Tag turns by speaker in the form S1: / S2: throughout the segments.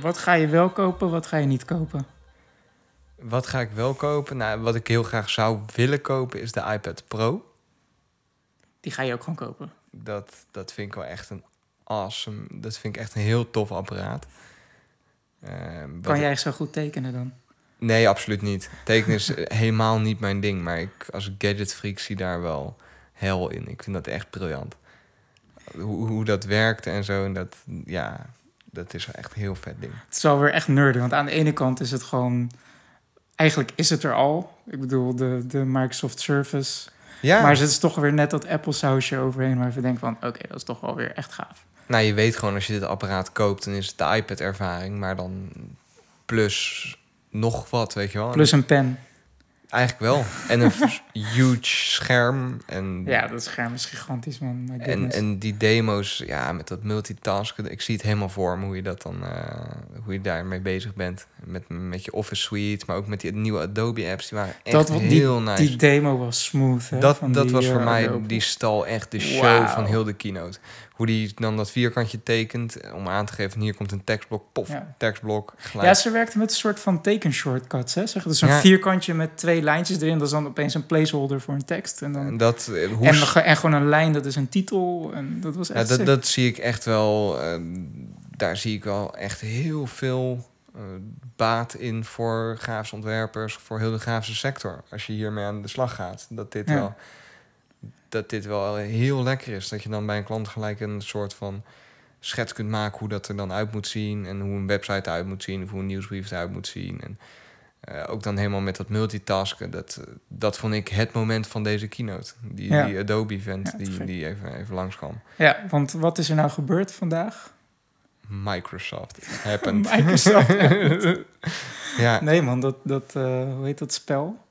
S1: wat ga je wel kopen, wat ga je niet kopen?
S2: Wat ga ik wel kopen? Nou, wat ik heel graag zou willen kopen is de iPad Pro.
S1: Die ga je ook gewoon kopen.
S2: Dat, dat vind ik wel echt een awesome... Dat vind ik echt een heel tof apparaat. Ehm, wat
S1: Kan
S2: ik-
S1: jij zo goed tekenen dan?
S2: Nee, absoluut niet. Tekenen is eh, helemaal niet mijn ding. Maar ik, als gadgetfreak zie daar wel hel in. Ik vind dat echt briljant. Hoe, hoe dat werkt en zo. En dat, ja, dat is echt een heel vet ding.
S1: Het is wel weer echt nerden, want aan de ene kant is het gewoon... Eigenlijk is het er al. Ik bedoel, de, de Microsoft Surface.
S2: Ja,
S1: Maar er zit toch weer net dat Apple-sausje overheen... waar je denkt van, oké, dat is toch wel weer echt gaaf.
S2: nou je weet gewoon als je dit apparaat koopt... dan is het de iPad-ervaring. Maar dan plus nog wat, weet je wel.
S1: Plus een pen.
S2: Eigenlijk wel. En een huge scherm. En
S1: Ja, dat scherm is gigantisch, man. My
S2: En,
S1: goodness.
S2: en die demo's, ja, met dat multitasken, ik zie het helemaal voor me hoe je dat dan, eh, hoe je daarmee bezig bent. Met, met je Office Suite, maar ook met die nieuwe Adobe apps, die waren echt
S1: Dat wa- die-
S2: heel nice.
S1: Die demo was smooth, hè,
S2: dat
S1: van
S2: dat
S1: die,
S2: was
S1: eh,
S2: voor mij,
S1: Adobe.
S2: die stal echt de show
S1: Wauw.
S2: van heel de keynote. Hoe die dan dat vierkantje tekent, eh, om aan te geven, hier komt een tekstblok, pof,
S1: Ja.
S2: tekstblok, gelijk.
S1: Ja, ze werkte met een soort van tekenshortcuts, hè? Zeg, dus een
S2: Ja.
S1: vierkantje met twee lijntjes erin. Dat is dan opeens een placeholder voor een tekst. En, dan,
S2: En dat, eh, hoe
S1: en,
S2: s-
S1: ge- en gewoon een lijn, dat is een titel. En dat was
S2: Ja,
S1: echt
S2: dat,
S1: sick.
S2: dat zie ik echt wel. ehm, daar zie ik wel echt heel veel eh, baat in voor grafische ontwerpers, voor heel de grafische sector. Als je hiermee aan de slag gaat, dat dit
S1: Ja.
S2: wel. Dat dit wel heel lekker is. Dat je dan bij een klant gelijk een soort van schets kunt maken hoe dat er dan uit moet zien. En hoe een website eruit moet zien. Of hoe een nieuwsbrief eruit moet zien. En eh, ook dan helemaal met dat multitasken. Dat, eh, dat vond ik het moment van deze keynote. Die,
S1: Ja.
S2: die Adobe-vent
S1: Ja, te
S2: die,
S1: gek.
S2: die even, even langskwam.
S1: Ja, want wat is er nou gebeurd vandaag?
S2: Microsoft happened.
S1: Microsoft happened.
S2: ja,
S1: Nee man, dat, dat eh, hoe heet dat spel?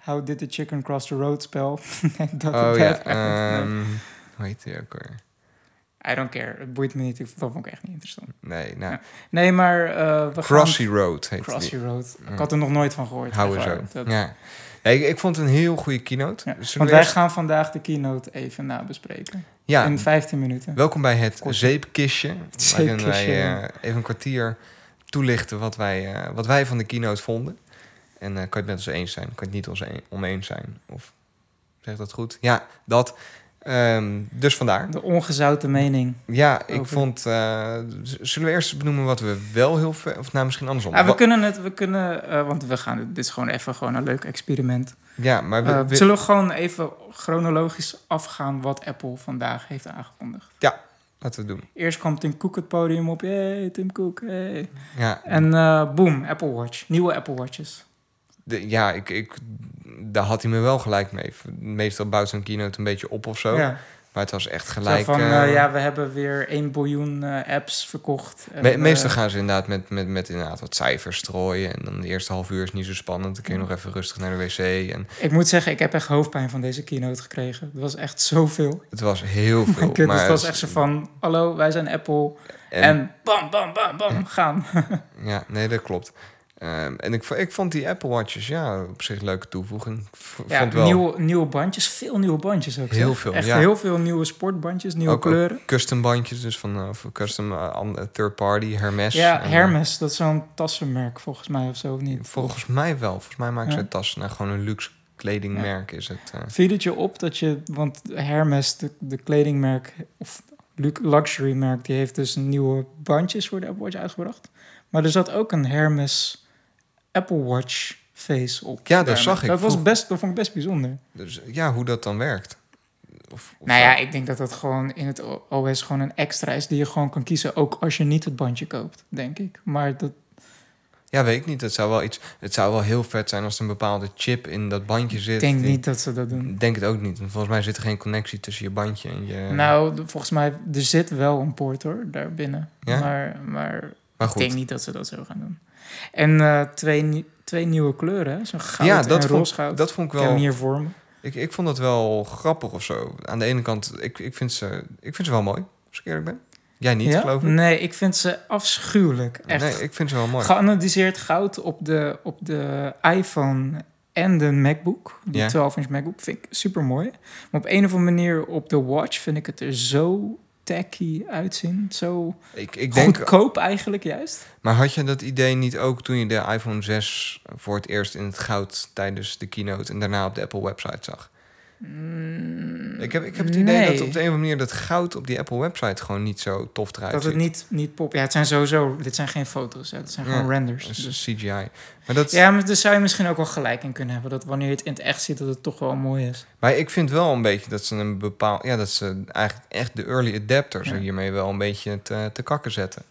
S1: How did the chicken cross the road spel? Nee, dat
S2: oh
S1: het
S2: ja.
S1: happened. Nee.
S2: ehm, hoe heet die ook weer?
S1: I don't care, het boeit me niet. Ik- Dat vond ik echt niet interessant.
S2: Nee, nou,
S1: Nee, maar eh, we
S2: Crossy Road
S1: gaan...
S2: heet
S1: Crossy
S2: die.
S1: Road.
S2: Mm.
S1: Ik had er nog nooit van gehoord.
S2: Hou er
S1: echt
S2: zo.
S1: waar. Dat-
S2: Ja. Ja, ik, ik vond het een heel goede keynote.
S1: Ja,
S2: Zullen
S1: Want
S2: we
S1: wij
S2: eerst-
S1: gaan vandaag de keynote even nabespreken.
S2: ja,
S1: In 15 minuten.
S2: welkom bij het
S1: Kort.
S2: zeepkistje. Waarin wij
S1: zeepkistje, ja.
S2: eh, even een kwartier toelichten wat wij, eh, wat wij van de keynote vonden. En eh, kan je het met ons eens zijn, kan je het niet ons een- oneens zijn. Of zeg ik dat goed? Ja, dat. Ehm, dus vandaar.
S1: De ongezouten mening.
S2: Ja, ik
S1: Over-
S2: vond. eh, z- zullen we eerst benoemen wat we wel heel ver. Of nou, misschien andersom.
S1: Ah, we
S2: Wa-
S1: kunnen het, we kunnen, eh, want we gaan, dit is gewoon even gewoon een leuk experiment.
S2: ja, maar we,
S1: Eh,
S2: we-
S1: zullen we gewoon even chronologisch afgaan wat Apple vandaag heeft aangekondigd?
S2: laten we het doen.
S1: Eerst kwam Tim Cook het podium op. Hey, Tim Cook, hey.
S2: Ja,
S1: En eh, boom, Apple Watch. Nieuwe Apple Watches.
S2: de- ja ik, ik, daar had hij me wel gelijk mee. Meestal bouwt zo'n keynote een beetje op of zo.
S1: Ja.
S2: Maar het was echt
S1: Zo
S2: gelijk.
S1: van,
S2: eh,
S1: eh, ja, we hebben weer 1 biljoen eh, apps verkocht. En,
S2: me- meestal
S1: eh,
S2: gaan ze inderdaad met, met, met inderdaad wat cijfers strooien. En dan de eerste half uur is niet zo spannend. Dan kun je nog even rustig naar de wc. En
S1: ik moet zeggen, ik heb echt hoofdpijn van deze keynote gekregen. Het was echt zoveel.
S2: het was heel veel.
S1: Ik, dus
S2: maar
S1: het was echt zo van, hallo, wij zijn Apple. En, bam, bam, bam, bam, gaan.
S2: Ja, nee, dat klopt. Ehm, en ik, vo- ik vond die Apple Watches, ja, op zich een leuke toevoeging. Ik v-
S1: Ja,
S2: vond wel
S1: nieuwe, nieuwe bandjes, veel nieuwe bandjes ook. zeg.
S2: Heel veel,
S1: Echt
S2: ja.
S1: heel veel nieuwe sportbandjes, nieuwe
S2: Ook- ook
S1: kleuren.
S2: custom bandjes, dus van eh, of custom eh, an- eh, third party, Hermes.
S1: ja,
S2: En, eh,
S1: Hermes, dat is zo'n tassenmerk volgens mij of zo, of niet?
S2: volgens mij wel. Volgens mij maken
S1: Ja.
S2: zij tassen. Nou, gewoon een luxe kledingmerk is het. eh.
S1: Viel het je op dat je, want Hermes, de, de kledingmerk, of lu- luxury merk, die heeft dus nieuwe bandjes voor de Apple Watch uitgebracht. Maar er zat ook een Hermes Apple Watch face op.
S2: Ja, dat
S1: Daarmee.
S2: zag ik.
S1: Dat, was
S2: Vroeg-
S1: best, dat vond ik best bijzonder.
S2: Dus ja, hoe dat dan werkt. Of, of
S1: Nou
S2: zo.
S1: ja, ik denk dat dat gewoon in het O- OS gewoon een extra is die je gewoon kan kiezen, ook als je niet het bandje koopt, denk ik. Maar dat,
S2: ja, weet ik niet. Het zou wel iets. Het zou wel heel vet zijn als er een bepaalde chip in dat bandje zit.
S1: ik denk
S2: die-
S1: niet dat ze dat doen.
S2: Denk het ook niet. want Volgens mij zit er geen connectie tussen je bandje en je.
S1: Nou, d- volgens mij, er zit wel een poort hoor, daar binnen.
S2: Ja?
S1: Maar, maar
S2: maar
S1: ik
S2: goed.
S1: denk niet dat ze dat zo gaan doen. En eh, twee, nie- twee nieuwe kleuren, hè? zo'n goud
S2: ja, dat
S1: en
S2: vond,
S1: roze goud.
S2: dat vond ik
S1: ik
S2: wel.
S1: heb hem hier voor me.
S2: Ik, ik vond dat wel grappig of zo. Aan de ene kant, ik, ik, vind, ze, ik vind ze wel mooi, als ik eerlijk ben. Jij niet,
S1: Ja?
S2: geloof ik.
S1: Nee, ik vind ze afschuwelijk. Echt.
S2: Nee, ik vind ze wel mooi.
S1: Geanalyseerd goud op de, op de iPhone en de MacBook. Die
S2: Ja.
S1: 12-inch MacBook vind ik super mooi. Maar op een of andere manier op de Watch vind ik het er zo tacky uitzien. Zo
S2: Ik, ik denk,
S1: goedkoop eigenlijk juist.
S2: maar had je dat idee niet ook toen je de iPhone 6 voor het eerst in het goud tijdens de keynote en daarna op de Apple website zag?
S1: Mm,
S2: Ik heb, ik heb het idee dat op de
S1: nee.
S2: een of andere manier dat goud op die Apple website gewoon niet zo tof eruit
S1: dat
S2: ziet.
S1: het niet, niet pop. Ja, het zijn sowieso. Dit zijn geen foto's, hè. dit zijn
S2: Ja,
S1: gewoon renders.
S2: Dat is
S1: Dus-
S2: CGI. Maar, dat,
S1: Ja, maar daar zou je misschien ook wel gelijk in kunnen hebben. Dat wanneer je het in het echt ziet, dat het toch wel mooi is.
S2: maar ik vind wel een beetje dat ze een bepaald. Ja, dat ze eigenlijk echt de early adapters
S1: Ja.
S2: hiermee wel een beetje te, te kakken zetten.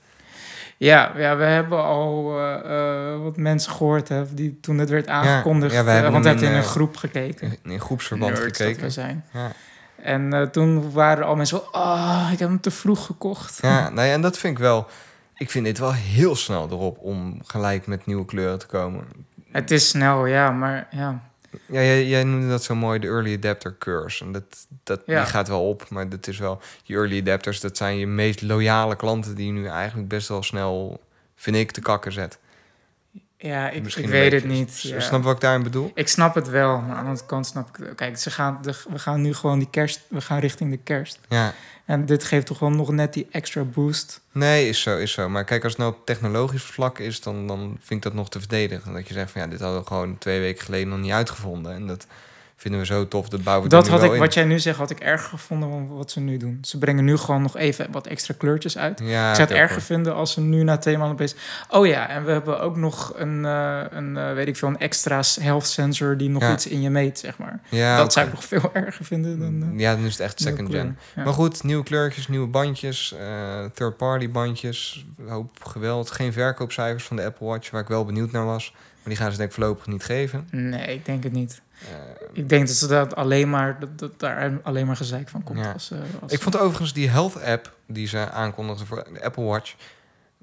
S1: Ja, ja we hebben al eh, eh, wat mensen gehoord hè, die toen het werd aangekondigd.
S2: ja, we
S1: eh,
S2: hebben
S1: want we
S2: hem
S1: hebben in
S2: in,
S1: een
S2: eh,
S1: groep gekeken.
S2: In, in groepsverband
S1: Nerds dat we
S2: gekeken.
S1: zijn.
S2: Ja.
S1: En eh, toen waren al mensen van, ah, ik heb hem te vroeg gekocht.
S2: Ja, nou ja, en dat vind ik wel. Ik vind dit wel heel snel erop om gelijk met nieuwe kleuren te komen.
S1: Het is snel, ja, maar ja.
S2: Ja, jij, jij noemde dat zo mooi de early adapter curse. En dat, dat
S1: Ja.
S2: die gaat wel op, maar dat is wel... Je early adapters, dat zijn je meest loyale klanten... die je nu eigenlijk best wel snel, vind ik, te kakken zet.
S1: Ja, ik,
S2: Misschien
S1: ik
S2: een
S1: weet het
S2: beetje. dus
S1: niet.
S2: S-
S1: ja.
S2: Snap je wat ik daarin bedoel?
S1: Ik snap het wel, maar aan de andere kant snap ik het. ook. Kijk, ze gaan, de- we gaan nu gewoon die kerst, we gaan richting de kerst.
S2: Ja.
S1: En dit geeft toch wel nog net die extra boost.
S2: Nee, is zo, is zo. Maar kijk, als het nou op technologisch vlak is... dan, dan vind ik dat nog te verdedigen. Dat je zegt van, ja, dit hadden we gewoon twee weken geleden nog niet uitgevonden. En dat vinden we zo tof, dat bouwen we
S1: dat
S2: er nu
S1: had ik,
S2: wel
S1: wat jij nu zegt, had ik erger gevonden dan wat ze nu doen. Ze brengen nu gewoon nog even wat extra kleurtjes uit.
S2: in. Ja,
S1: ik zou het
S2: ook
S1: erger
S2: wel.
S1: vinden als ze nu na twee maanden opeens... Oh ja, en we hebben ook nog een, eh, een eh, weet ik veel, een extra health sensor die nog
S2: Ja.
S1: iets in je meet, zeg maar.
S2: Ja,
S1: dat
S2: oké.
S1: zou ik nog veel erger vinden dan... eh,
S2: ja, dan is het echt
S1: nieuwe
S2: second
S1: kleur.
S2: gen.
S1: Ja.
S2: Maar goed, nieuwe kleurtjes, nieuwe bandjes, eh, third-party bandjes, een hoop geweld, geen verkoopcijfers van de Apple Watch, waar ik wel benieuwd naar was. Maar die gaan ze denk ik voorlopig niet geven.
S1: Nee, ik denk het niet.
S2: Eh,
S1: Ik denk dat ze dat alleen maar, dat, dat daar alleen maar gezeik van komt.
S2: Ja.
S1: Als, eh, als,
S2: ik vond overigens die health app die ze aankondigden voor de Apple Watch,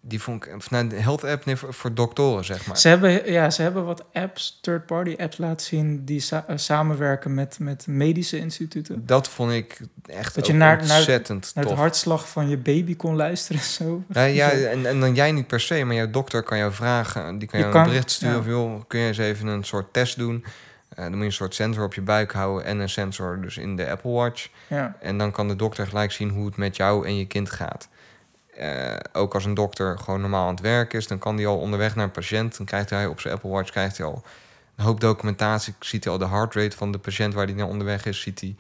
S2: die vond ik, of nou, de health app nee, voor, voor doktoren zeg maar.
S1: Ze hebben, ja, ze hebben wat apps, third-party apps laten zien die sa- eh, samenwerken met, met medische instituten.
S2: Dat vond ik echt
S1: Dat je
S2: ook
S1: naar- naar-
S2: ontzettend
S1: Naar het
S2: tof.
S1: hartslag van je baby kon luisteren en zo.
S2: Ja, ja, en, en dan jij niet per se, maar jouw dokter kan jou vragen. Die kan
S1: Je
S2: jou
S1: kan-
S2: een bericht sturen
S1: ja.
S2: van, joh, kun je eens even een soort test doen? Eh, dan moet je een soort sensor op je buik houden en een sensor dus in de Apple Watch.
S1: Ja,
S2: En dan kan de dokter gelijk zien hoe het met jou en je kind gaat. Eh, ook als een dokter gewoon normaal aan het werk is, dan kan die al onderweg naar een patiënt. Dan krijgt hij op zijn Apple Watch krijgt hij al een hoop documentatie. Ziet hij al de heart rate van de patiënt waar hij naar onderweg is. Ziet hij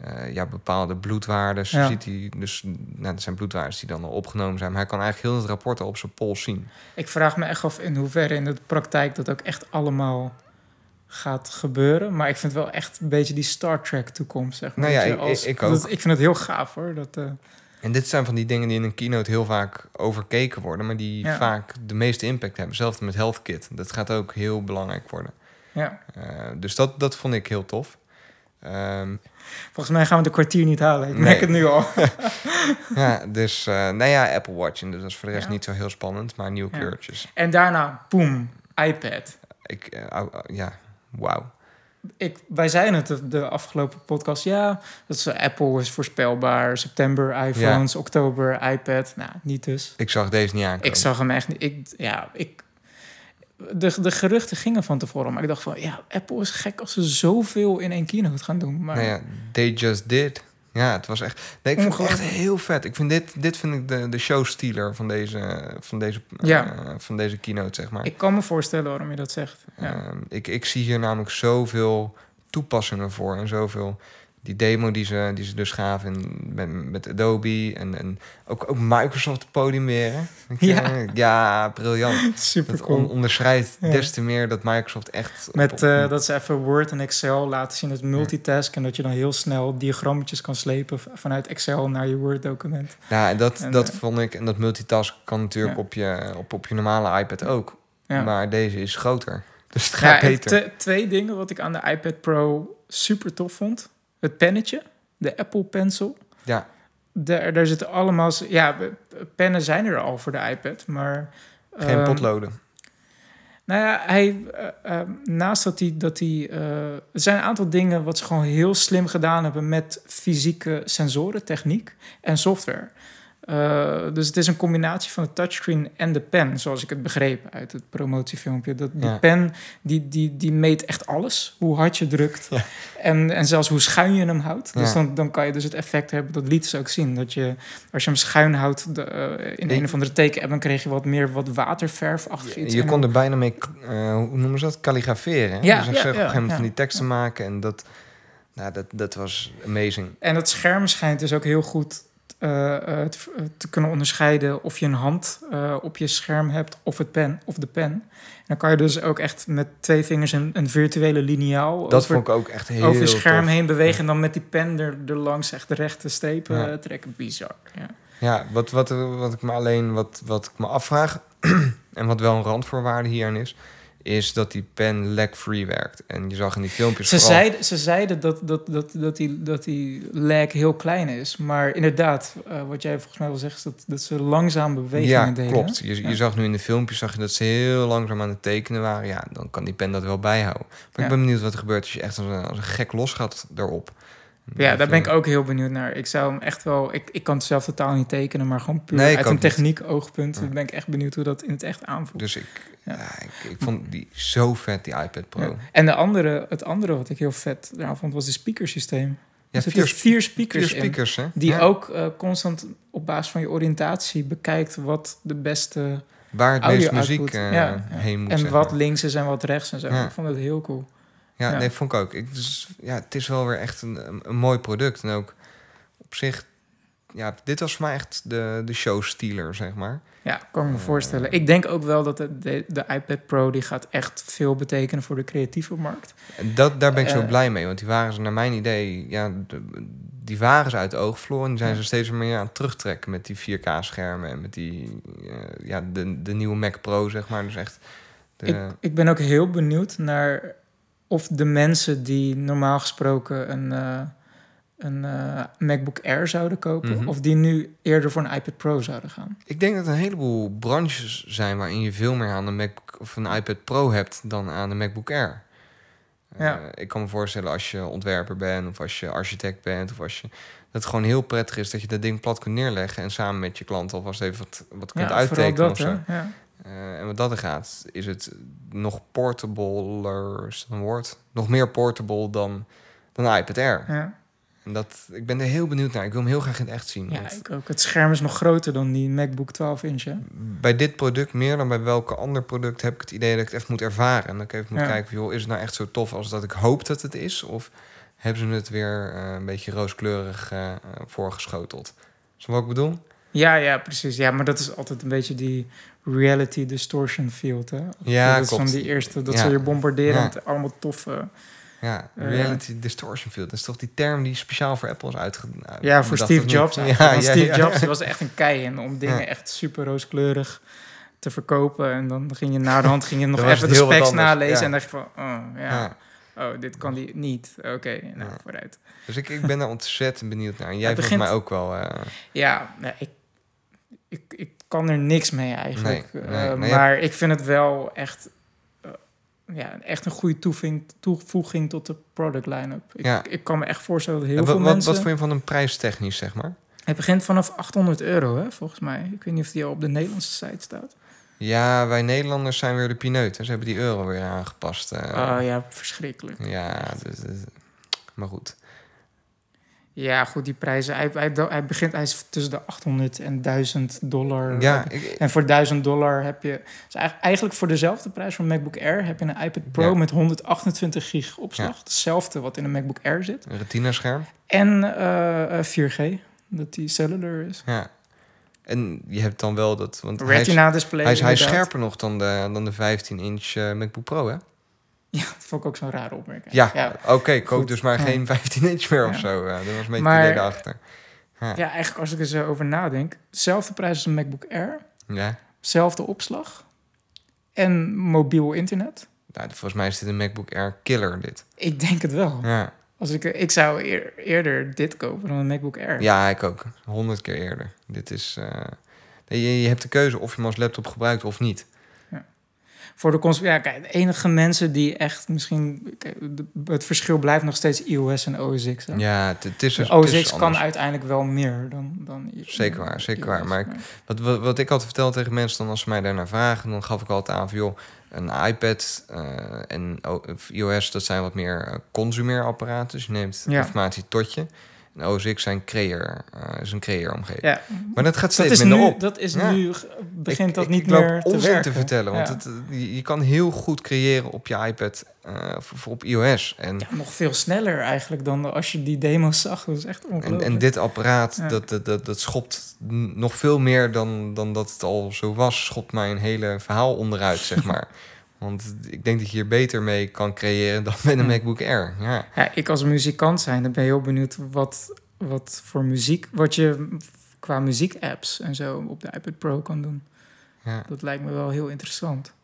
S2: eh, ja, bepaalde bloedwaardes.
S1: Ja.
S2: Ziet hij dus, nou, dat zijn bloedwaardes die dan al opgenomen zijn. Maar hij kan eigenlijk heel het rapport al op zijn pols zien.
S1: ik vraag me echt af in hoeverre in de praktijk dat ook echt allemaal gaat gebeuren. Maar ik vind wel echt een beetje die Star Trek toekomst, zeg maar.
S2: Nou ja,
S1: Dat je
S2: ik- ik- ik ook.
S1: dat- ik vind het heel gaaf, hoor. Dat, eh,
S2: En dit zijn van die dingen die in een keynote heel vaak overkeken worden. Maar die
S1: Ja.
S2: vaak de meeste impact hebben. Zelfs met HealthKit. Dat gaat ook heel belangrijk worden.
S1: ja.
S2: Eh, dus dat, dat vond ik heel tof. Ehm,
S1: Volgens mij gaan we de kwartier niet halen. Ik
S2: Nee.
S1: merk het nu al.
S2: ja, dus, eh, nou ja, Apple Watch. En dus dat is voor de rest
S1: Ja.
S2: niet zo heel spannend, maar nieuwe
S1: Ja.
S2: kleurtjes.
S1: En daarna, boem, iPad.
S2: Ik, eh, au- au- ja, wauw.
S1: ik, wij zeiden het de, de afgelopen podcast. Ja, dat is, eh, Apple is voorspelbaar. September iPhones, oktober iPad. Nou, niet dus.
S2: Ik zag deze niet aankomen.
S1: Ik zag hem echt niet. Ik, ja, ik, de, de geruchten gingen van tevoren. Maar ik dacht van, ja, Apple is gek als ze zoveel in één keynote gaan doen. Maar
S2: Nou ja, they just did. Ja, het was echt... Nee, ik vind het echt heel vet. Ik vind dit, dit vind ik de, de showstealer van deze, van, deze, eh,
S1: Ja.
S2: van deze keynote, zeg maar.
S1: ik kan me voorstellen waarom je dat zegt. Ja.
S2: Ehm, ik, ik zie hier namelijk zoveel toepassingen voor en zoveel. Die demo die ze, die ze dus gaven in- met, met Adobe en, en ook, ook Microsoft op het podium weer. hè? Ik,
S1: Ja.
S2: eh, ja, briljant.
S1: Super
S2: Dat
S1: cool.
S2: on- onderscheidt
S1: Ja.
S2: des te meer dat Microsoft echt... op- op-
S1: Met eh, dat ze even Word en Excel laten zien, het multitasken. Dat je dan heel snel diagrammetjes kan slepen v- vanuit Excel naar je Word-document.
S2: ja, en dat,
S1: en,
S2: dat
S1: eh,
S2: vond ik... En dat multitask kan natuurlijk
S1: Ja.
S2: op, je, op, op je normale iPad ook.
S1: Ja.
S2: Maar deze is groter. Dus het
S1: Ja,
S2: gaat
S1: en
S2: beter.
S1: te- twee dingen wat ik aan de iPad Pro super tof vond. Het pennetje, de Apple Pencil.
S2: Ja.
S1: Daar, daar zitten allemaal... z- Ja, we- pennen zijn er al voor de iPad, maar...
S2: Geen
S1: ehm,
S2: potloden.
S1: Nou ja, hij, eh, eh, naast dat hij... Dat hij eh, er zijn een aantal dingen wat ze gewoon heel slim gedaan hebben... met fysieke sensoren, techniek en software. Eh, Eh, dus het is een combinatie van de touchscreen en de pen, zoals ik het begreep uit het promotiefilmpje. Dat die
S2: Ja.
S1: pen die, die, die meet echt alles, hoe hard je drukt
S2: Ja.
S1: en, en zelfs hoe schuin je hem houdt. Dus
S2: Ja.
S1: dan, dan kan je dus het effect hebben, dat liet ze ook zien. Dat je, als je hem schuin houdt de, eh, in
S2: Je-
S1: een of andere teken, dan kreeg je wat meer wat waterverfachtig
S2: Je,
S1: iets.
S2: je
S1: En
S2: kon
S1: dan-
S2: er bijna mee, k- eh, hoe noemen ze dat, kalligraferen. hè?
S1: Ja,
S2: dus ik
S1: ja,
S2: zag
S1: ja,
S2: op een gegeven moment
S1: ja.
S2: van die teksten maken en dat, nou, dat, dat was amazing.
S1: En het scherm schijnt dus ook heel goed eh, eh, te- eh, te kunnen onderscheiden of je een hand eh, op je scherm hebt of, het pen, of de pen. En dan kan je dus ook echt met twee vingers een, een virtuele liniaal
S2: Dat
S1: over,
S2: vond ik ook echt heel
S1: over je scherm
S2: tof.
S1: heen bewegen en dan met die pen er, er langs echt de rechte strepen
S2: Ja.
S1: eh, trekken. Bizar. Ja.
S2: Ja, wat, wat, wat ik me alleen wat, wat ik me afvraag, en wat wel een randvoorwaarde hierin is, is dat die pen lag-free werkt. En je zag in die filmpjes
S1: Ze,
S2: vooral...
S1: zeiden, ze zeiden dat, dat, dat, dat, die, dat die lag heel klein is, maar inderdaad, eh, wat jij volgens mij wil zeggen, is dat, dat ze langzaam bewegingen
S2: ja,
S1: deden.
S2: klopt. Je, je
S1: Ja.
S2: zag nu in de filmpjes zag je dat ze heel langzaam aan het tekenen waren. Ja, dan kan die pen dat wel bijhouden. Maar
S1: Ja.
S2: ik ben benieuwd wat er gebeurt als je echt als een, als een gek los gaat daarop.
S1: Ja, daar ben ik
S2: ook.
S1: ook heel benieuwd naar. Ik zou hem echt wel... Ik, ik kan het zelf totaal niet tekenen, maar gewoon puur
S2: Nee, ik
S1: uit
S2: ook
S1: een
S2: niet.
S1: techniek oogpunt.
S2: Ja.
S1: ben ik echt benieuwd hoe dat in het echt aanvoelt.
S2: Dus ik,
S1: Ja.
S2: ja. ik, ik vond die zo vet, die iPad Pro.
S1: Ja.
S2: Ja,
S1: En de andere, het andere wat ik heel vet eraan vond, was het speakersysteem. er zitten
S2: vier,
S1: vier,
S2: sp- vier
S1: speakers in,
S2: speakers, hè?
S1: die
S2: Ja.
S1: ook eh, constant op basis van je oriëntatie bekijkt wat de beste...
S2: Waar het meest
S1: audio-output,
S2: muziek eh,
S1: ja, ja.
S2: heen moet,
S1: en
S2: zeg
S1: wat
S2: maar.
S1: links is en wat rechts en zo.
S2: Ja.
S1: Ik vond het heel cool.
S2: Ja,
S1: ja.
S2: nee, vond ik ook. Ik, dus, ja, het is wel weer echt een, een- een mooi product. En ook op zich... Ja, dit was voor mij echt de, de showstealer, zeg maar.
S1: Ja, kan ik me
S2: Ja.
S1: voorstellen. Ik denk ook wel dat de, de, de iPad Pro... die gaat echt veel betekenen voor de creatieve markt.
S2: En dat, daar ben ik zo
S1: Eh.
S2: blij mee. Want die waren ze, naar mijn idee... Ja, de- die waren ze uit het oog verloren. En die zijn
S1: Ja.
S2: ze steeds meer aan het terugtrekken... met die 4K-schermen en met die... eh, ja, de, de nieuwe Mac Pro, zeg maar. Dus echt... De,
S1: Ik, ik ben ook heel benieuwd naar of de mensen die normaal gesproken een, eh, een eh, MacBook Air zouden kopen,
S2: Mhm.
S1: of die nu eerder voor een iPad Pro zouden gaan.
S2: Ik denk dat er een heleboel branches zijn waarin je veel meer aan een Mac of een iPad Pro hebt dan aan een MacBook Air.
S1: Ja.
S2: Eh, ik kan me voorstellen als je ontwerper bent of als je architect bent of als je dat het gewoon heel prettig is dat je dat ding plat kunt neerleggen en samen met je klant alvast even wat, wat kunt
S1: vooral
S2: uittekenen
S1: dat,
S2: of zo.
S1: hè? Ja.
S2: Eh, en wat dat er gaat, is het nog portabler, is dat een woord? Nog meer portable dan, dan een iPad Air.
S1: Ja.
S2: En dat, ik ben er heel benieuwd naar. Ik wil hem heel graag in het echt zien.
S1: ja,
S2: want-
S1: ik ook. Het scherm is nog groter dan die MacBook 12 inch. Hè?
S2: bij dit product meer dan bij welke ander product heb ik het idee dat ik het echt moet ervaren. En dat ik even moet
S1: Ja.
S2: kijken, van, joh, is het nou echt zo tof als dat ik hoop dat het is? Of hebben ze het weer eh, een beetje rooskleurig eh, eh, voorgeschoteld? Is dat wat ik bedoel?
S1: Ja, ja, precies. Ja, maar dat is altijd een beetje die reality distortion field. Hè?
S2: Ja,
S1: dat is
S2: klopt.
S1: van die eerste, dat
S2: Ja.
S1: ze je bombarderen
S2: Ja.
S1: met allemaal toffe...
S2: Ja,
S1: Eh.
S2: reality distortion field. Dat is toch die term die speciaal voor Apple is eh, uitgedacht?
S1: Ja, voor Steve Jobs.
S2: Ja,
S1: eigenlijk.
S2: ja,
S1: Want Steve
S2: ja.
S1: Jobs die was er echt een kei in om dingen
S2: Ja.
S1: echt super rooskleurig te verkopen. En dan ging je na de hand ging je nog
S2: Dan was
S1: even de
S2: het heel wat
S1: specs
S2: anders,
S1: nalezen.
S2: ja.
S1: En dacht je van, oh ja,
S2: Ja.
S1: oh dit kan die niet. Oké, nou
S2: Ja.
S1: vooruit.
S2: Dus ik, ik ben daar ontzettend benieuwd naar. En jij
S1: Het
S2: volgens
S1: begint-
S2: mij ook wel. eh,
S1: Ja, nou, ik, ik, ik kan er niks mee eigenlijk.
S2: Nee,
S1: Eh,
S2: nee, maar je
S1: maar ik vind het wel echt, eh, ja, echt een goede toeving- toevoeging tot de product line-up. Ik,
S2: Ja.
S1: ik kan me echt voorstellen dat heel
S2: en wat,
S1: veel
S2: wat,
S1: mensen...
S2: wat vond je van een prijstechnisch, zeg maar?
S1: Hij begint vanaf 800 euro, hè, volgens mij. Ik weet niet of die al op de Nederlandse site staat.
S2: Ja, wij Nederlanders zijn weer de pineut. Hè? Ze hebben die euro weer aangepast. eh.
S1: Oh ja, verschrikkelijk.
S2: Ja, dus, dus- maar goed.
S1: Ja, goed, die prijzen. Hij, hij, hij begint, hij is tussen de 800 en 1000 dollar.
S2: Ja, ik,
S1: En voor 1000 dollar heb je. Dus eigenlijk- eigenlijk voor dezelfde prijs van MacBook Air heb je een iPad Pro
S2: Ja.
S1: met 128 gig opslag. Hetzelfde wat in een MacBook Air zit.
S2: een retina-scherm.
S1: En eh, eh, 4G, dat die cellular is.
S2: Ja. En je hebt dan wel dat... Want hij is,
S1: Retina display.
S2: hij is, hij is
S1: inderdaad.
S2: scherper nog dan de, dan de 15-inch eh, MacBook Pro, hè?
S1: Ja, dat vond ik ook zo'n rare opmerking.
S2: Ja, oké. koop
S1: Goed.
S2: dus maar
S1: Ja.
S2: geen 15-inch meer of
S1: Ja.
S2: zo. eh. dat was een beetje
S1: Maar-
S2: het idee daarachter. Ja.
S1: Ja, eigenlijk als ik er zo over nadenk. Zelfde prijs als een MacBook Air.
S2: Ja.
S1: Zelfde opslag. En mobiel internet.
S2: Nou, volgens mij is dit een MacBook Air killer, dit.
S1: Ik denk het wel.
S2: Ja,
S1: Als ik, ik zou eer- eerder dit kopen dan een MacBook Air.
S2: ja ik ook. Honderd keer eerder. Dit is... eh, je, je hebt de keuze of je hem als laptop gebruikt of niet.
S1: voor de consument. Ja, kijk, de enige mensen die echt misschien. kijk, de- het verschil blijft nog steeds iOS en OS X. hè.
S2: Ja, het, het is
S1: Dus
S2: het
S1: OS
S2: is
S1: X kan
S2: anders.
S1: uiteindelijk wel meer dan. dan i-
S2: Zeker waar, zeker waar,
S1: iOS,
S2: maar ik- Wat, wat, wat ik altijd vertel tegen mensen, dan als ze mij daarnaar vragen, dan gaf ik altijd aan van joh, een iPad eh, en O- of iOS, dat zijn wat meer eh, consumeerapparaten. Dus je neemt
S1: Ja.
S2: informatie tot je. En OS X zijn creëer, eh, is een creëeromgeving.
S1: Ja.
S2: Maar dat gaat
S1: Dat
S2: steeds
S1: is
S2: minder
S1: nu,
S2: op.
S1: dat is
S2: Ja.
S1: nu ge- begint
S2: Ik-
S1: dat
S2: ik
S1: niet
S2: loop
S1: meer te
S2: onzin
S1: werken.
S2: vertellen, want
S1: Ja.
S2: het, eh, je je kan heel goed creëren op je iPad eh, of, of op iOS. En,
S1: Ja, nog veel sneller eigenlijk dan de- als je die demo's zag. Dat is echt
S2: en,
S1: ongelooflijk.
S2: en dit apparaat,
S1: Ja.
S2: dat, dat, dat, dat schopt n- nog veel meer dan, dan dat het al zo was, schopt mijn hele verhaal onderuit, zeg maar. Want ik denk dat je hier beter mee kan creëren dan met een
S1: Ja.
S2: MacBook Air. Ja,
S1: Ja, ik als muzikant zijn, dan ben je heel benieuwd wat, wat voor muziek, wat je qua muziek-apps en zo op de iPad Pro kan doen.
S2: ja.
S1: Dat lijkt me wel heel interessant.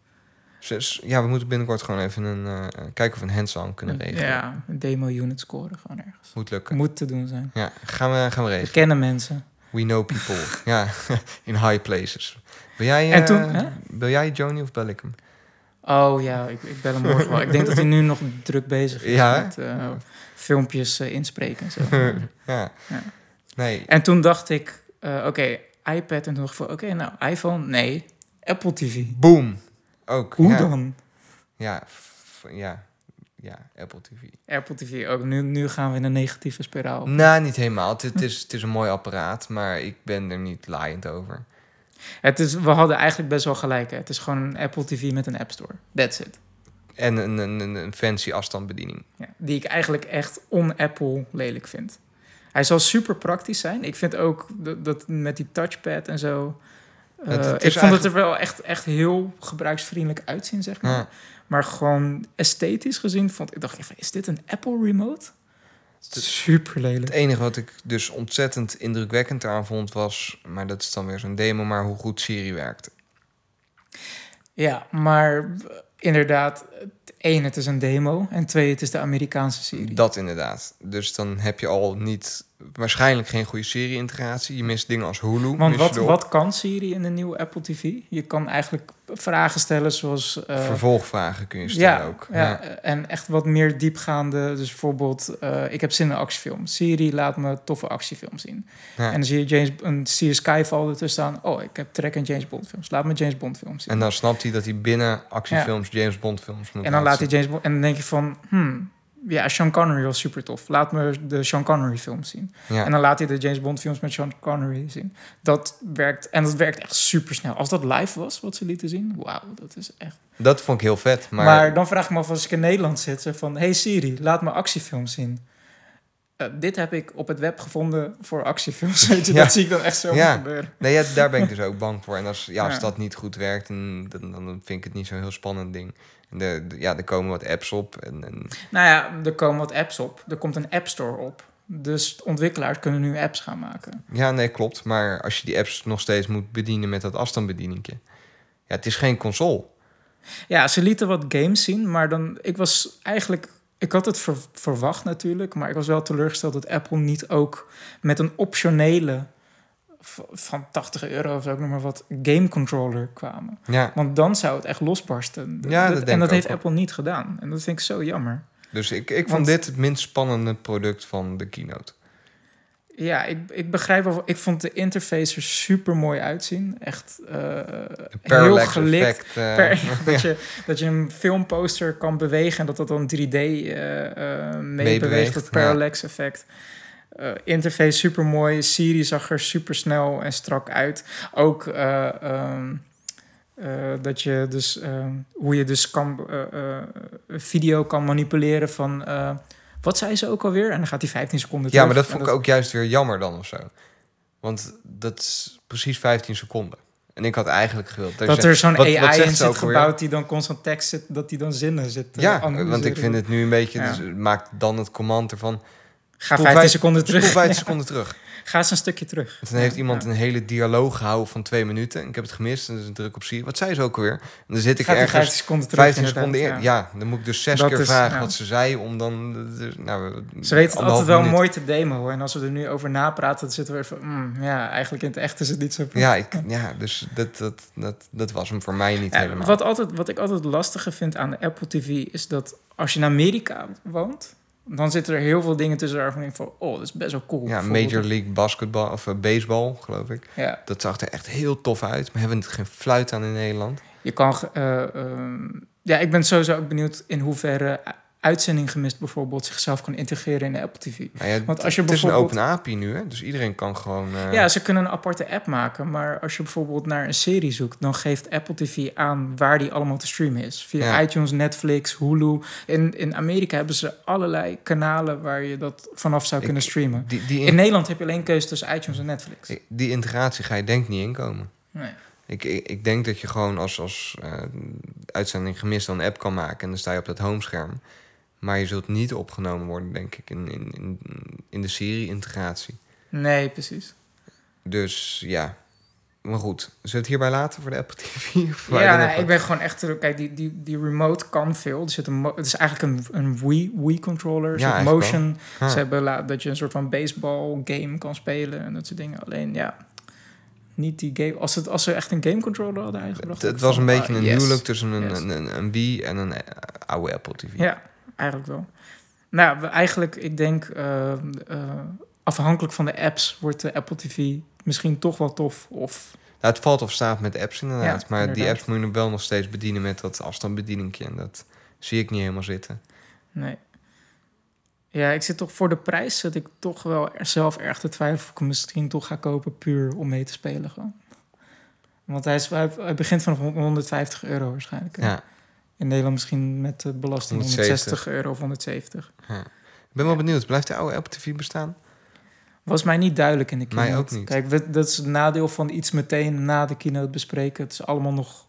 S2: Dus, ja we moeten binnenkort gewoon even een, eh, kijken of we een hands-on kunnen regelen.
S1: Ja, een demo-unit scoren gewoon ergens.
S2: Moet lukken.
S1: Moet te doen zijn.
S2: Ja, gaan we, gaan we regelen.
S1: We kennen mensen.
S2: We know people. ja, in high places. Wil jij,
S1: En
S2: eh,
S1: toen, hè?
S2: wil jij Joni of bel ik hem?
S1: Oh ja, ik, ik bel hem morgen wel. Ik denk dat hij nu nog druk bezig is
S2: Ja, hè?
S1: met eh, filmpjes eh, inspreken en zo.
S2: ja.
S1: Ja.
S2: Nee,
S1: en toen dacht ik, eh, oké, iPad. En toen dacht ik, van, oké, nou, iPhone, nee. Apple TV.
S2: boom. Ook.
S1: Hoe
S2: ja.
S1: dan?
S2: Ja, f- ja, ja, Apple TV.
S1: Apple TV ook. Nu, nu gaan we in een negatieve spiraal.
S2: Nou, niet helemaal. Het, het, is, het is een mooi apparaat, maar ik ben er niet laaiend over.
S1: Het is, we hadden eigenlijk best wel gelijk. Hè? Het is gewoon een Apple TV met een App Store. That's it.
S2: En een, een, een, een fancy afstandsbediening.
S1: Ja, die ik eigenlijk echt on-Apple lelijk vind. Hij zal super praktisch zijn. Ik vind ook dat, dat met die touchpad en zo. eh,
S2: Het- het is
S1: ik vond het er
S2: eigenlijk-
S1: wel echt, echt heel gebruiksvriendelijk uitzien, zeg maar.
S2: Ja.
S1: Maar gewoon esthetisch gezien vond ik, dacht ik van, is dit een Apple remote? Super
S2: Het
S1: lelijk.
S2: enige wat ik dus ontzettend indrukwekkend aan vond was... maar dat is dan weer zo'n demo, maar hoe goed Siri werkte.
S1: Ja, maar eh, inderdaad, het- één, het is een demo. En twee, het is de Amerikaanse serie.
S2: Dat inderdaad. Dus dan heb je al niet... waarschijnlijk geen goede Siri-integratie. Je mist dingen als Hulu. mis
S1: Want
S2: je
S1: wat,
S2: erop.
S1: wat kan Siri in de nieuwe Apple TV? Je kan eigenlijk vragen stellen zoals... eh,
S2: Vervolgvragen kun je stellen
S1: ja,
S2: ook.
S1: Ja, en echt wat meer diepgaande. Dus bijvoorbeeld, eh, ik heb zin in een actiefilm. Siri laat me toffe actiefilm zien.
S2: Ja.
S1: En dan zie je James, een zie je Skyfall ertussen staan. Oh, ik heb trek in James Bond films. Laat me James Bond films zien.
S2: En
S1: En,
S2: dan snapt hij dat hij binnen actiefilms James Bond films moet
S1: dan laat hij
S2: laten
S1: James Bond... En dan denk je van, hmm, ja, Sean Connery was super tof. Laat me de Sean Connery films zien.
S2: zien. Ja.
S1: En dan laat hij de James Bond films met Sean Connery zien. Dat werkt, en dat werkt echt super snel. Als dat live was, wat ze lieten zien, wauw, dat is echt...
S2: Dat vond ik heel vet.
S1: Maar,
S2: Maar,
S1: dan vraag ik me af als ik in Nederland zit, zo van... Hey Siri, laat me actiefilms zien. Eh, dit heb ik op het web gevonden voor actiefilms. Weet je,
S2: Ja.
S1: Dat zie ik dan echt zo
S2: Ja.
S1: gebeuren.
S2: nee, ja, daar ben ik dus ook bang voor. En als, ja, als
S1: Ja.
S2: dat niet goed werkt, dan, dan, dan vind ik het niet zo'n heel spannend ding. En de, de- ja, er komen wat apps op. En, en,
S1: Nou ja, er komen wat apps op. Er komt een app store op. Dus ontwikkelaars kunnen nu apps gaan maken.
S2: ja, nee, klopt. Maar als je die apps nog steeds moet bedienen met dat afstandsbedieningje. Ja, het is geen console.
S1: Ja, ze lieten wat games zien, maar dan... Ik was eigenlijk... Ik had het ver- verwacht natuurlijk, maar ik was wel teleurgesteld dat Apple niet ook met een optionele v- van 80 euro of zo, ik noem maar wat, game controller kwamen.
S2: Ja,
S1: Want dan zou het echt losbarsten. D-
S2: Ja, dat denk
S1: en dat
S2: ik ook
S1: heeft
S2: wel.
S1: Apple niet gedaan. En dat vind ik zo jammer.
S2: dus ik, ik vond
S1: Want-
S2: dit het minst spannende product van de keynote.
S1: Ja, ik, ik begrijp wel. Ik vond de interface er super mooi uitzien. Echt eh,
S2: De
S1: heel
S2: parallax
S1: gelikt.
S2: effect. eh,
S1: Per- dat, je, dat je een filmposter kan bewegen en dat dat dan 3D eh, eh, meebeweegt.
S2: Meebeweegt,
S1: Dat
S2: ja.
S1: parallax effect. Eh, interface super mooi. Siri zag er super snel en strak uit. Ook eh, ehm, eh, dat je dus ehm, hoe je dus kan eh, eh, video kan manipuleren van eh, wat zei ze ook alweer? En dan gaat die 15 seconden.
S2: Ja,
S1: terug.
S2: maar dat
S1: En
S2: vond ik ook juist weer jammer dan of zo. Want dat is precies 15 seconden. En ik had eigenlijk gewild... je
S1: Dat
S2: zegt,
S1: er zo'n
S2: wat- wat
S1: AI
S2: zegt
S1: in
S2: ze
S1: zit
S2: ook alweer?
S1: gebouwd die dan constant tekst zit, dat die dan zinnen zit. te
S2: Ja, want
S1: analyseren.
S2: ik vind het nu een beetje...
S1: Ja.
S2: Dus maakt dan het command ervan...
S1: Ga
S2: Spoel
S1: 15
S2: vijf-
S1: seconden terug.
S2: Spoel 15
S1: Ja.
S2: seconden terug.
S1: Ga eens een stukje terug.
S2: En toen heeft iemand een hele dialoog gehouden van twee minuten. En ik heb het gemist. En dus een druk op zie. Wat zei ze ook alweer? En dan zit ik
S1: Gaat die
S2: ergens
S1: 15 seconden terug.
S2: 15
S1: inderdaad,
S2: seconden
S1: ja.
S2: eerder. Ja. dan moet ik dus zes
S1: Dat
S2: keer
S1: is-
S2: vragen
S1: ja.
S2: wat ze zei. Om dan. dus, Nou,
S1: Ze weten het altijd
S2: anderhalve
S1: wel
S2: minuut.
S1: mooi te demoen. En als we er nu over napraten, dan zitten we even... mm, ja, eigenlijk in het echt is het niet zo...
S2: Ja, ik, ja dus dat, dat, dat, dat was hem voor mij niet
S1: Ja,
S2: helemaal.
S1: Eh, wat, altijd, wat ik altijd lastiger vind aan de Apple TV is dat als je in Amerika woont, dan zitten er heel veel dingen tussen waarvan ik denk van, oh, dat is best wel cool.
S2: ja,
S1: Bijvoorbeeld-
S2: Major League Basketball of eh, Baseball, geloof ik.
S1: Ja,
S2: Dat zag er echt heel tof uit. Maar hebben het geen fluit aan in Nederland.
S1: je kan. ge- eh, ehm, ja, ik ben sowieso ook benieuwd in hoeverre u- uitzending gemist bijvoorbeeld zichzelf kan integreren in de Apple TV.
S2: Nou ja,
S1: Want
S2: t-
S1: als je
S2: het is een
S1: bijvoorbeeld-
S2: open API nu, hè? dus iedereen kan gewoon... eh,
S1: Ja, ze kunnen een aparte app maken, maar als je bijvoorbeeld naar een serie zoekt, dan geeft Apple TV aan waar die allemaal te streamen is. Via
S2: Ja.
S1: iTunes, Netflix, Hulu. In, in Amerika hebben ze allerlei kanalen waar je dat vanaf zou
S2: Ik-
S1: kunnen streamen.
S2: die, die,
S1: In Nederland heb je alleen keuze tussen iTunes en Netflix.
S2: die integratie ga je denk ik niet inkomen.
S1: Nee.
S2: Ik, ik, ik denk dat je gewoon als, als eh, uitzending gemist dan een app kan maken... en dan sta je op dat homescherm. Maar je zult niet opgenomen worden, denk ik, in, in, in, in de serie-integratie.
S1: nee, precies.
S2: Dus ja, maar goed. Zullen we het hierbij laten voor de Apple TV? Of wou je
S1: Ja,
S2: er nog
S1: nee,
S2: wat-
S1: ik ben gewoon echt... terug- Kijk, die, die, die remote kan veel. Er zit een mo- het is eigenlijk een, een Wii, Wii controller, een
S2: Ja,
S1: soort
S2: eigenlijk
S1: motion.
S2: Ha.
S1: Ze hebben la- dat je een soort van baseball game kan spelen en dat soort dingen. Alleen, ja, niet die game... Als, het, als ze echt een game controller hadden
S2: Het,
S1: uitgebracht...
S2: het
S1: had ik
S2: was een
S1: van,
S2: beetje
S1: ah,
S2: een
S1: yes.
S2: huwelijk tussen een,
S1: Yes.
S2: een, een, een Wii en een eh, oude Apple TV.
S1: Ja, eigenlijk wel. Nou, we- eigenlijk, ik denk, eh, eh, afhankelijk van de apps wordt de Apple TV misschien toch wel tof. Of
S2: Nou, het valt of staat met apps inderdaad.
S1: Ja,
S2: maar die
S1: inderdaad.
S2: apps moet je wel nog steeds bedienen met dat afstandsbedieningje. En dat zie ik niet helemaal zitten.
S1: Nee. Ja, ik zit toch voor de prijs zit ik toch wel er zelf erg te twijfelen of ik hem misschien toch ga kopen puur om mee te spelen gewoon. Want hij, is, hij, hij begint vanaf 150 euro waarschijnlijk. hè?
S2: Ja.
S1: In Nederland misschien met de belasting 160
S2: 170.
S1: euro of 170.
S2: Ik ben wel benieuwd. Blijft de oude Apple TV bestaan?
S1: Was mij niet duidelijk in de
S2: Mij
S1: keynote.
S2: ook niet.
S1: Kijk, we- dat is het nadeel van iets meteen na de keynote bespreken. Het is allemaal nog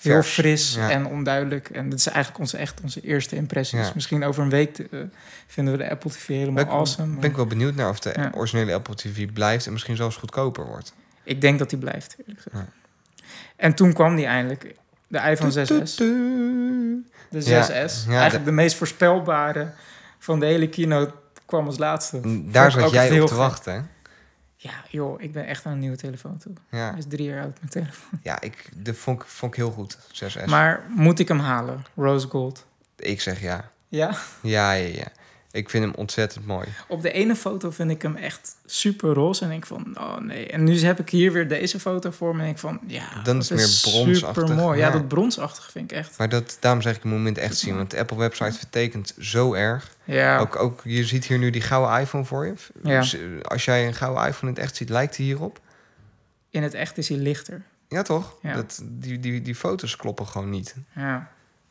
S1: heel
S2: Vers,
S1: fris
S2: ja.
S1: en onduidelijk. En dit is eigenlijk onze, echt onze eerste impressies.
S2: Ja.
S1: Misschien over een week eh, vinden we de Apple TV helemaal
S2: Ben ik-
S1: awesome. maar-
S2: Ben ik wel benieuwd naar of de
S1: Ja.
S2: originele Apple TV blijft en misschien zelfs goedkoper wordt.
S1: Ik denk dat die blijft, eerlijk gezegd.
S2: Ja.
S1: En toen kwam die eindelijk, de iPhone 6S.
S2: Tudu.
S1: De 6S,
S2: Ja, ja,
S1: eigenlijk de... meest voorspelbare van de hele keynote, kwam als laatste.
S2: Daar
S1: ook
S2: zat jij
S1: heel
S2: op te
S1: gek.
S2: wachten. hè?
S1: Ja, joh, ik ben echt aan een nieuwe telefoon toe.
S2: Ja,
S1: Hij is drie jaar oud, mijn telefoon.
S2: ja ik, de vond, ik- vond ik heel goed. 6S.
S1: Maar moet ik hem halen? Rose Gold.
S2: Ik zeg ja.
S1: Ja,
S2: Ja, ja, ja. Ik vind hem ontzettend mooi.
S1: op de ene foto vind ik hem echt super roze en denk van, oh nee. En nu heb ik hier weer deze foto voor me en denk van, ja,
S2: Dan is
S1: dat
S2: het meer bronsachtig,
S1: Super mooi. Ja,
S2: ja.
S1: dat bronsachtig vind ik echt.
S2: Maar dat, daarom zeg ik, je moet hem in het echt zien. Want de Apple-website vertekent zo erg.
S1: Ja,
S2: Ook, ook, je ziet hier nu die gouden iPhone voor je.
S1: Ja.
S2: Dus, eh, als jij een gouden iPhone in het echt ziet, lijkt die hierop.
S1: in het echt is hij lichter.
S2: Ja, toch?
S1: Ja.
S2: Dat, die, die, die foto's kloppen gewoon niet.
S1: Ja,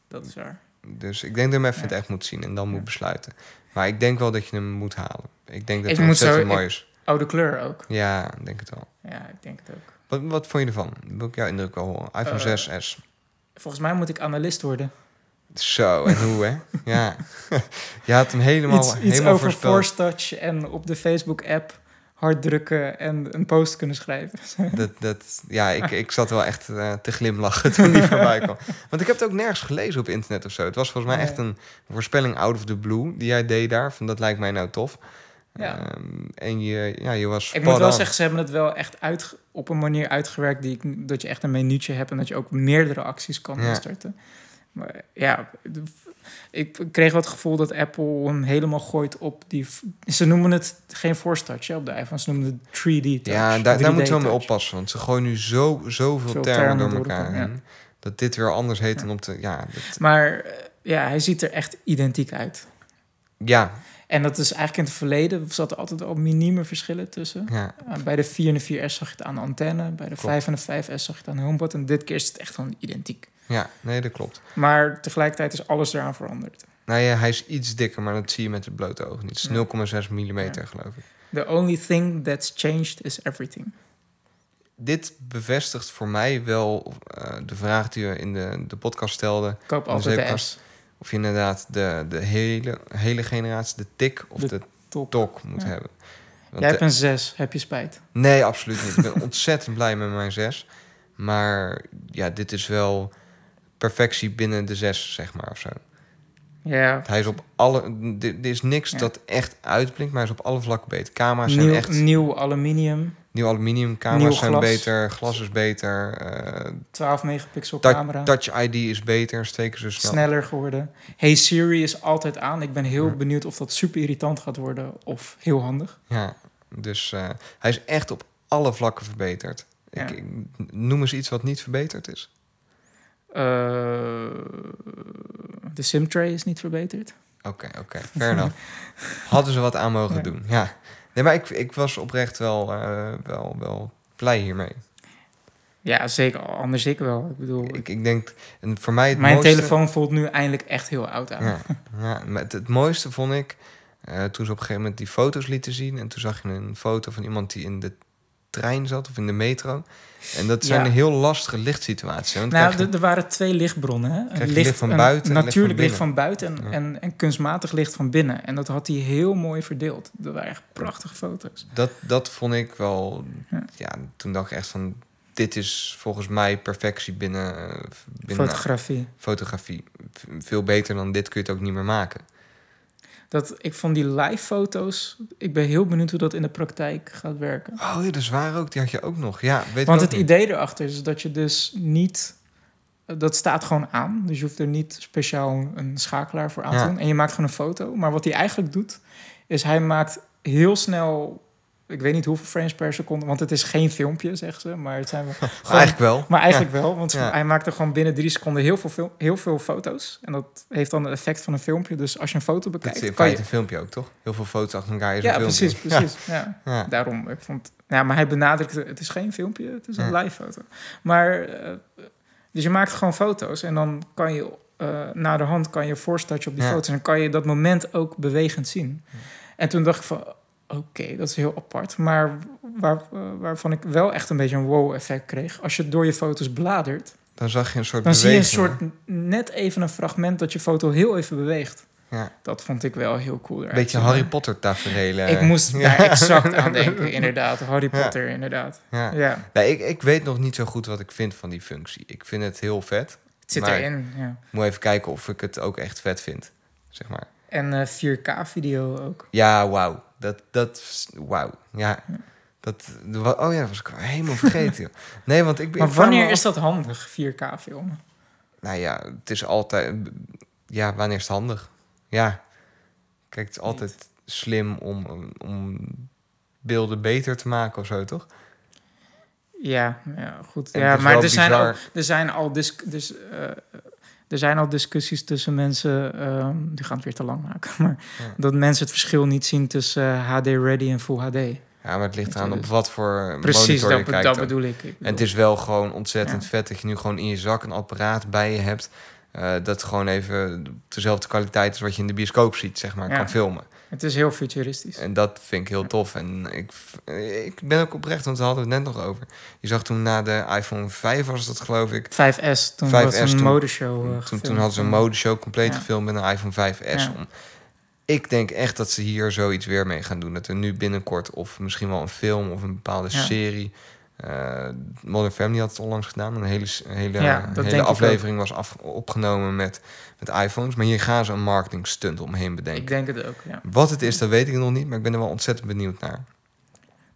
S1: dat is waar.
S2: Dus ik denk dat je hem even in
S1: Ja.
S2: het echt moet zien en dan
S1: Ja.
S2: moet besluiten. Maar ik denk wel dat je hem moet halen. Ik denk dat
S1: Ik
S2: het
S1: moet zo-
S2: ontzettend mooi
S1: ik-
S2: is.
S1: Oh, de kleur ook.
S2: Ja, ik denk het wel.
S1: Ja, ik denk het ook.
S2: Wat, wat vond je ervan? Wil ik jouw indruk wel horen? iPhone
S1: Eh.
S2: 6S.
S1: Volgens mij moet ik analist worden.
S2: Zo, en hoe hè? Ja. je had hem helemaal,
S1: iets iets
S2: helemaal
S1: over
S2: voorspeld.
S1: force touch en op de Facebook-app hard drukken en een post kunnen schrijven.
S2: Dat, dat, ja, ik, ik zat wel echt eh, te glimlachen toen die voorbij kwam. Want ik heb het ook nergens gelezen op internet of zo. Het was volgens mij echt
S1: Nee.
S2: een voorspelling out of the blue die jij deed daar. Van dat lijkt mij nou tof.
S1: Ja.
S2: Ehm, en je, ja, je was
S1: Ik moet
S2: spot
S1: wel
S2: on.
S1: zeggen, ze hebben het wel echt uit, op een manier uitgewerkt die ik, dat je echt een menuutje hebt en dat je ook meerdere acties kan
S2: Ja.
S1: starten. Maar ja, de- ik kreeg wel het gevoel dat Apple hem helemaal gooit op die. f- Ze noemen het geen force touch hè, op de iPhone, ze noemen het 3D touch.
S2: Ja, daar, daar
S1: 3D
S2: moet je wel mee
S1: touch.
S2: oppassen. Want ze gooien nu zo, zoveel
S1: Veel
S2: termen,
S1: termen
S2: door
S1: door
S2: elkaar
S1: elkaar, ja.
S2: heen. Dat dit weer anders heet
S1: Ja.
S2: dan op de... Ja, dat-
S1: Maar eh, ja, hij ziet er echt identiek uit.
S2: ja,
S1: En dat is eigenlijk in het verleden zat er altijd al minieme verschillen tussen.
S2: ja.
S1: Eh, Bij de 4 en de 4S zag je het aan de antenne. Bij de
S2: Klopt.
S1: 5 en de 5S zag je het aan de homepod. En dit keer is het echt gewoon identiek.
S2: ja, nee, dat klopt.
S1: Maar tegelijkertijd is alles eraan veranderd.
S2: Nou ja, hij is iets dikker, maar dat zie je met het blote oog niet.
S1: Ja.
S2: Het is 0,6 mm, geloof ik.
S1: The only thing that's changed is everything.
S2: Dit bevestigt voor mij wel eh, de vraag die we in de, de podcast stelden.
S1: Koop
S2: Dan
S1: altijd
S2: zeg
S1: de
S2: ik
S1: apps.
S2: Of je inderdaad de, de hele, hele generatie, de tik of
S1: De
S2: de,
S1: Top.
S2: dock moet
S1: Ja.
S2: hebben.
S1: Jij
S2: Want, eh,
S1: hebt een 6, heb je spijt.
S2: Nee, absoluut niet. Ik ben ontzettend blij met mijn zes. Maar ja, dit is wel perfectie binnen de zes, zeg maar, of zo.
S1: Ja,
S2: Hij is op alle... d- Er is niks
S1: Ja.
S2: dat echt uitblinkt, maar hij is op alle vlakken beter. Camera's
S1: nieuw,
S2: zijn echt...
S1: nieuw aluminium,
S2: Nieuw aluminium, camera's
S1: Nieuw
S2: zijn
S1: glas.
S2: beter, glas is beter, eh,
S1: 12 megapixel
S2: tou-
S1: camera,
S2: Touch ID is beter, steken ze snel.
S1: sneller geworden. Hey Siri is altijd aan. Ik ben heel
S2: Ja.
S1: benieuwd of dat super irritant gaat worden of heel handig.
S2: Ja, dus eh, hij is echt op alle vlakken verbeterd.
S1: Ja.
S2: Ik, ik- noem eens iets wat niet verbeterd is.
S1: Eh, de simtray is niet verbeterd.
S2: Oké, oké, fair enough. Hadden ze wat aan mogen
S1: Ja.
S2: doen, ja. Nee, maar ik, ik was oprecht wel, eh, wel, wel blij hiermee.
S1: Ja, zeker. Anders ik wel. Ik bedoel,
S2: Ik, ik denk, en voor mij het
S1: mijn
S2: mooiste...
S1: telefoon voelt nu eindelijk echt heel oud aan.
S2: Ja, ja maar het, het mooiste vond ik eh, toen ze op een gegeven moment die foto's lieten zien. En toen zag je een foto van iemand die in de trein zat of in de metro. En dat zijn
S1: Ja.
S2: heel lastige lichtsituaties. hè, Want dan
S1: Nou,
S2: krijg je-
S1: d- er waren twee lichtbronnen. Hè? Een
S2: Krijg je licht van
S1: een
S2: buiten en licht
S1: Natuurlijk
S2: van
S1: licht van buiten en,
S2: Ja.
S1: en, en kunstmatig licht van binnen. En dat had hij heel mooi verdeeld. Dat waren echt prachtige foto's.
S2: dat, dat vond ik wel...
S1: Ja.
S2: Ja. toen dacht ik echt van... Dit is volgens mij perfectie binnen, eh, binnen
S1: Fotografie.
S2: fotografie. V- Veel beter dan dit kun je het ook niet meer maken.
S1: Dat, ik vond die live foto's... Ik ben heel benieuwd hoe dat in de praktijk gaat werken.
S2: Oh ja, dat is waar ook. Die had je ook nog. Ja, weet ik
S1: Want
S2: ook
S1: het
S2: niet.
S1: idee erachter is dat je dus niet... Dat staat gewoon aan. Dus je hoeft er niet speciaal een schakelaar voor aan te
S2: Ja.
S1: doen. En je maakt gewoon een foto. Maar wat hij eigenlijk doet, is hij maakt heel snel... Ik weet niet hoeveel frames per seconde, want het is geen filmpje, zeggen ze. Maar, het zijn wel,
S2: Maar Eigenlijk wel.
S1: maar eigenlijk wel, want
S2: Ja.
S1: hij maakt er gewoon binnen drie seconden heel veel, fil- heel veel foto's. En dat heeft dan het effect van een filmpje. Dus als je een foto
S2: Dat is
S1: bekijkt,
S2: in
S1: kan je...
S2: feite een filmpje ook, toch? Heel veel foto's achter elkaar is
S1: Ja,
S2: een filmpje.
S1: precies, precies. Ja.
S2: Ja.
S1: Daarom, ik vond... Ja, maar hij benadrukte, het is geen filmpje, het is een
S2: Ja.
S1: live foto. Maar, eh, dus je maakt gewoon foto's en dan kan je, eh na de hand kan je voorstartje op die
S2: Ja.
S1: foto's en dan kan je dat moment ook bewegend zien. En toen dacht ik van, oké, dat is heel apart, maar waar, eh, waarvan ik wel echt een beetje een wow-effect kreeg. Als je door je foto's bladert,
S2: Dan zag je een soort
S1: dan zie je een
S2: beweging.
S1: soort, net even een fragment dat je foto heel even beweegt.
S2: Ja.
S1: Dat vond ik wel heel cool. eruit
S2: Beetje
S1: zien.
S2: Harry Potter tafereelen.
S1: Ik moest
S2: Ja.
S1: daar exact aan denken, inderdaad. Harry
S2: Eh, Ja.
S1: Potter, inderdaad.
S2: Ja.
S1: Ja.
S2: Nee, ik, ik weet nog niet zo goed wat ik vind van die functie. Ik vind het heel vet.
S1: Het zit
S2: Maar-
S1: erin, ja.
S2: Moet even kijken of ik het ook echt vet vind. Zeg maar.
S1: En eh, 4K-video ook.
S2: Ja, wauw. Dat, dat, is- wauw. Ja. Dat, wa- oh ja, dat was ik helemaal vergeten. joh. Nee, want ik ben...
S1: Maar
S2: ik vraag me
S1: wanneer
S2: af-
S1: is dat handig, 4K-filmen?
S2: Nou ja, het is altijd... Ja, wanneer is het handig? Ja. Kijk, het is altijd slim om, om beelden beter te maken of zo, toch?
S1: Ja, ja goed.
S2: En
S1: Ja,
S2: het is
S1: maar
S2: wel
S1: er zijn, al,
S2: bizar.
S1: er, zijn al dis- dus, eh, er zijn al discussies tussen mensen... ehm, die gaan het weer te lang maken. Maar
S2: Ja.
S1: dat mensen het verschil niet zien tussen eh, HD-ready en Full HD.
S2: Ja, maar het ligt eraan op
S1: Natuurlijk.
S2: wat voor
S1: Precies,
S2: monitor je
S1: dat,
S2: kijkt.
S1: dat
S2: ook.
S1: bedoel ik. ik
S2: En het
S1: bedoel-
S2: is wel gewoon ontzettend
S1: Ja.
S2: vet dat je nu gewoon in je zak een apparaat bij je hebt. eh, dat gewoon even op dezelfde kwaliteit is wat je in de bioscoop ziet, zeg maar,
S1: Ja.
S2: kan filmen.
S1: het is heel futuristisch.
S2: En dat vind ik heel tof. En ik, ik ben ook oprecht, want we hadden we het net nog over. Je zag toen na de iPhone 5 was dat geloof ik.
S1: 5S, toen
S2: 5S
S1: was een
S2: toen-
S1: modeshow eh,
S2: Toen, toen
S1: gefilmd.
S2: hadden ze een modeshow compleet
S1: Ja.
S2: gefilmd met een iPhone 5S
S1: Ja.
S2: om. Ik denk echt dat ze hier zoiets weer mee gaan doen. Dat er nu binnenkort of misschien wel een film of een bepaalde
S1: Ja.
S2: serie. eh, Modern Family had het onlangs gedaan. Een hele, s- een hele,
S1: Ja, dat
S2: een
S1: denk ik
S2: hele
S1: ook.
S2: aflevering was af, opgenomen met, met iPhones. Maar hier gaan ze een marketing stunt omheen bedenken.
S1: Ik denk het ook, ja.
S2: Wat het is, dat weet ik nog niet. Maar ik ben er wel ontzettend benieuwd naar.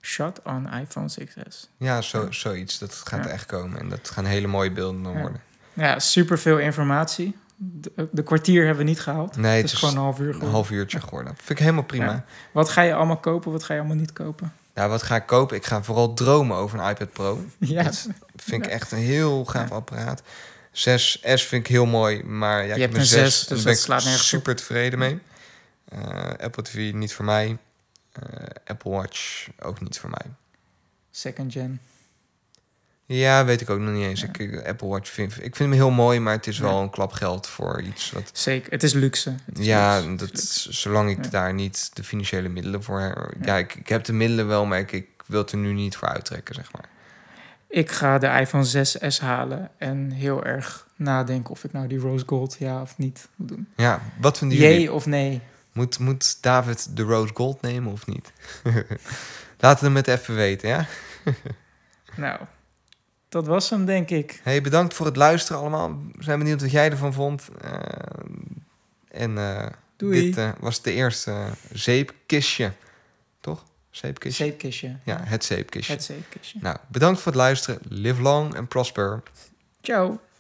S1: Shot on iPhone 6S.
S2: Ja, zo, zoiets. Dat gaat
S1: Ja.
S2: echt komen. En dat gaan hele mooie beelden dan
S1: Ja.
S2: worden.
S1: Nou Ja, superveel informatie. De, de kwartier hebben we niet gehaald.
S2: Nee,
S1: het is gewoon een half uur
S2: een
S1: geworden.
S2: half uurtje geworden. Vind ik helemaal prima.
S1: Ja. Wat ga je allemaal kopen, wat ga je allemaal niet kopen?
S2: Nou, wat ga ik kopen? Ik ga vooral dromen over een iPad Pro.
S1: Ja,
S2: Dat vind ik
S1: Ja.
S2: echt een heel gaaf apparaat. 6S vind ik heel mooi, maar ja,
S1: hebt
S2: ik heb
S1: een
S2: een
S1: 6,
S2: 6,
S1: dus
S2: daar
S1: dat
S2: ben ik
S1: slaat nergens op.
S2: super tevreden mee. Eh, Apple TV niet voor mij. Eh, Apple Watch ook niet voor mij.
S1: second gen.
S2: Ja, weet ik ook nog niet eens.
S1: Ja.
S2: Ik, eh, Apple Watch vind ik vind hem heel mooi, maar het is wel
S1: Ja.
S2: een klap geld voor iets wat
S1: Zeker, het is luxe. Het is
S2: Ja,
S1: luxe. Het is
S2: dat,
S1: luxe.
S2: zolang ik
S1: Ja.
S2: daar niet de financiële middelen voor heb.
S1: Ja.
S2: Ja, ik, ik heb de middelen wel, maar ik, ik wil het er nu niet voor uittrekken, zeg maar.
S1: Ik ga de iPhone 6S halen en heel erg nadenken of ik nou die rose gold ja of niet moet doen.
S2: Ja, wat vinden jullie?
S1: Jee of nee?
S2: Moet, moet David de Rose Gold nemen of niet? Laten we het even weten, ja?
S1: Nou, dat was hem, denk ik.
S2: Hey, bedankt voor het luisteren allemaal. We zijn benieuwd wat jij ervan vond. Eh, en eh,
S1: Doei.
S2: dit eh, was de eerste zeepkistje. Toch? Zeepkistje?
S1: Zeepkistje.
S2: Ja, het zeepkistje.
S1: Het zeepkistje.
S2: Nou, bedankt voor het luisteren. Live long and prosper.
S1: Ciao.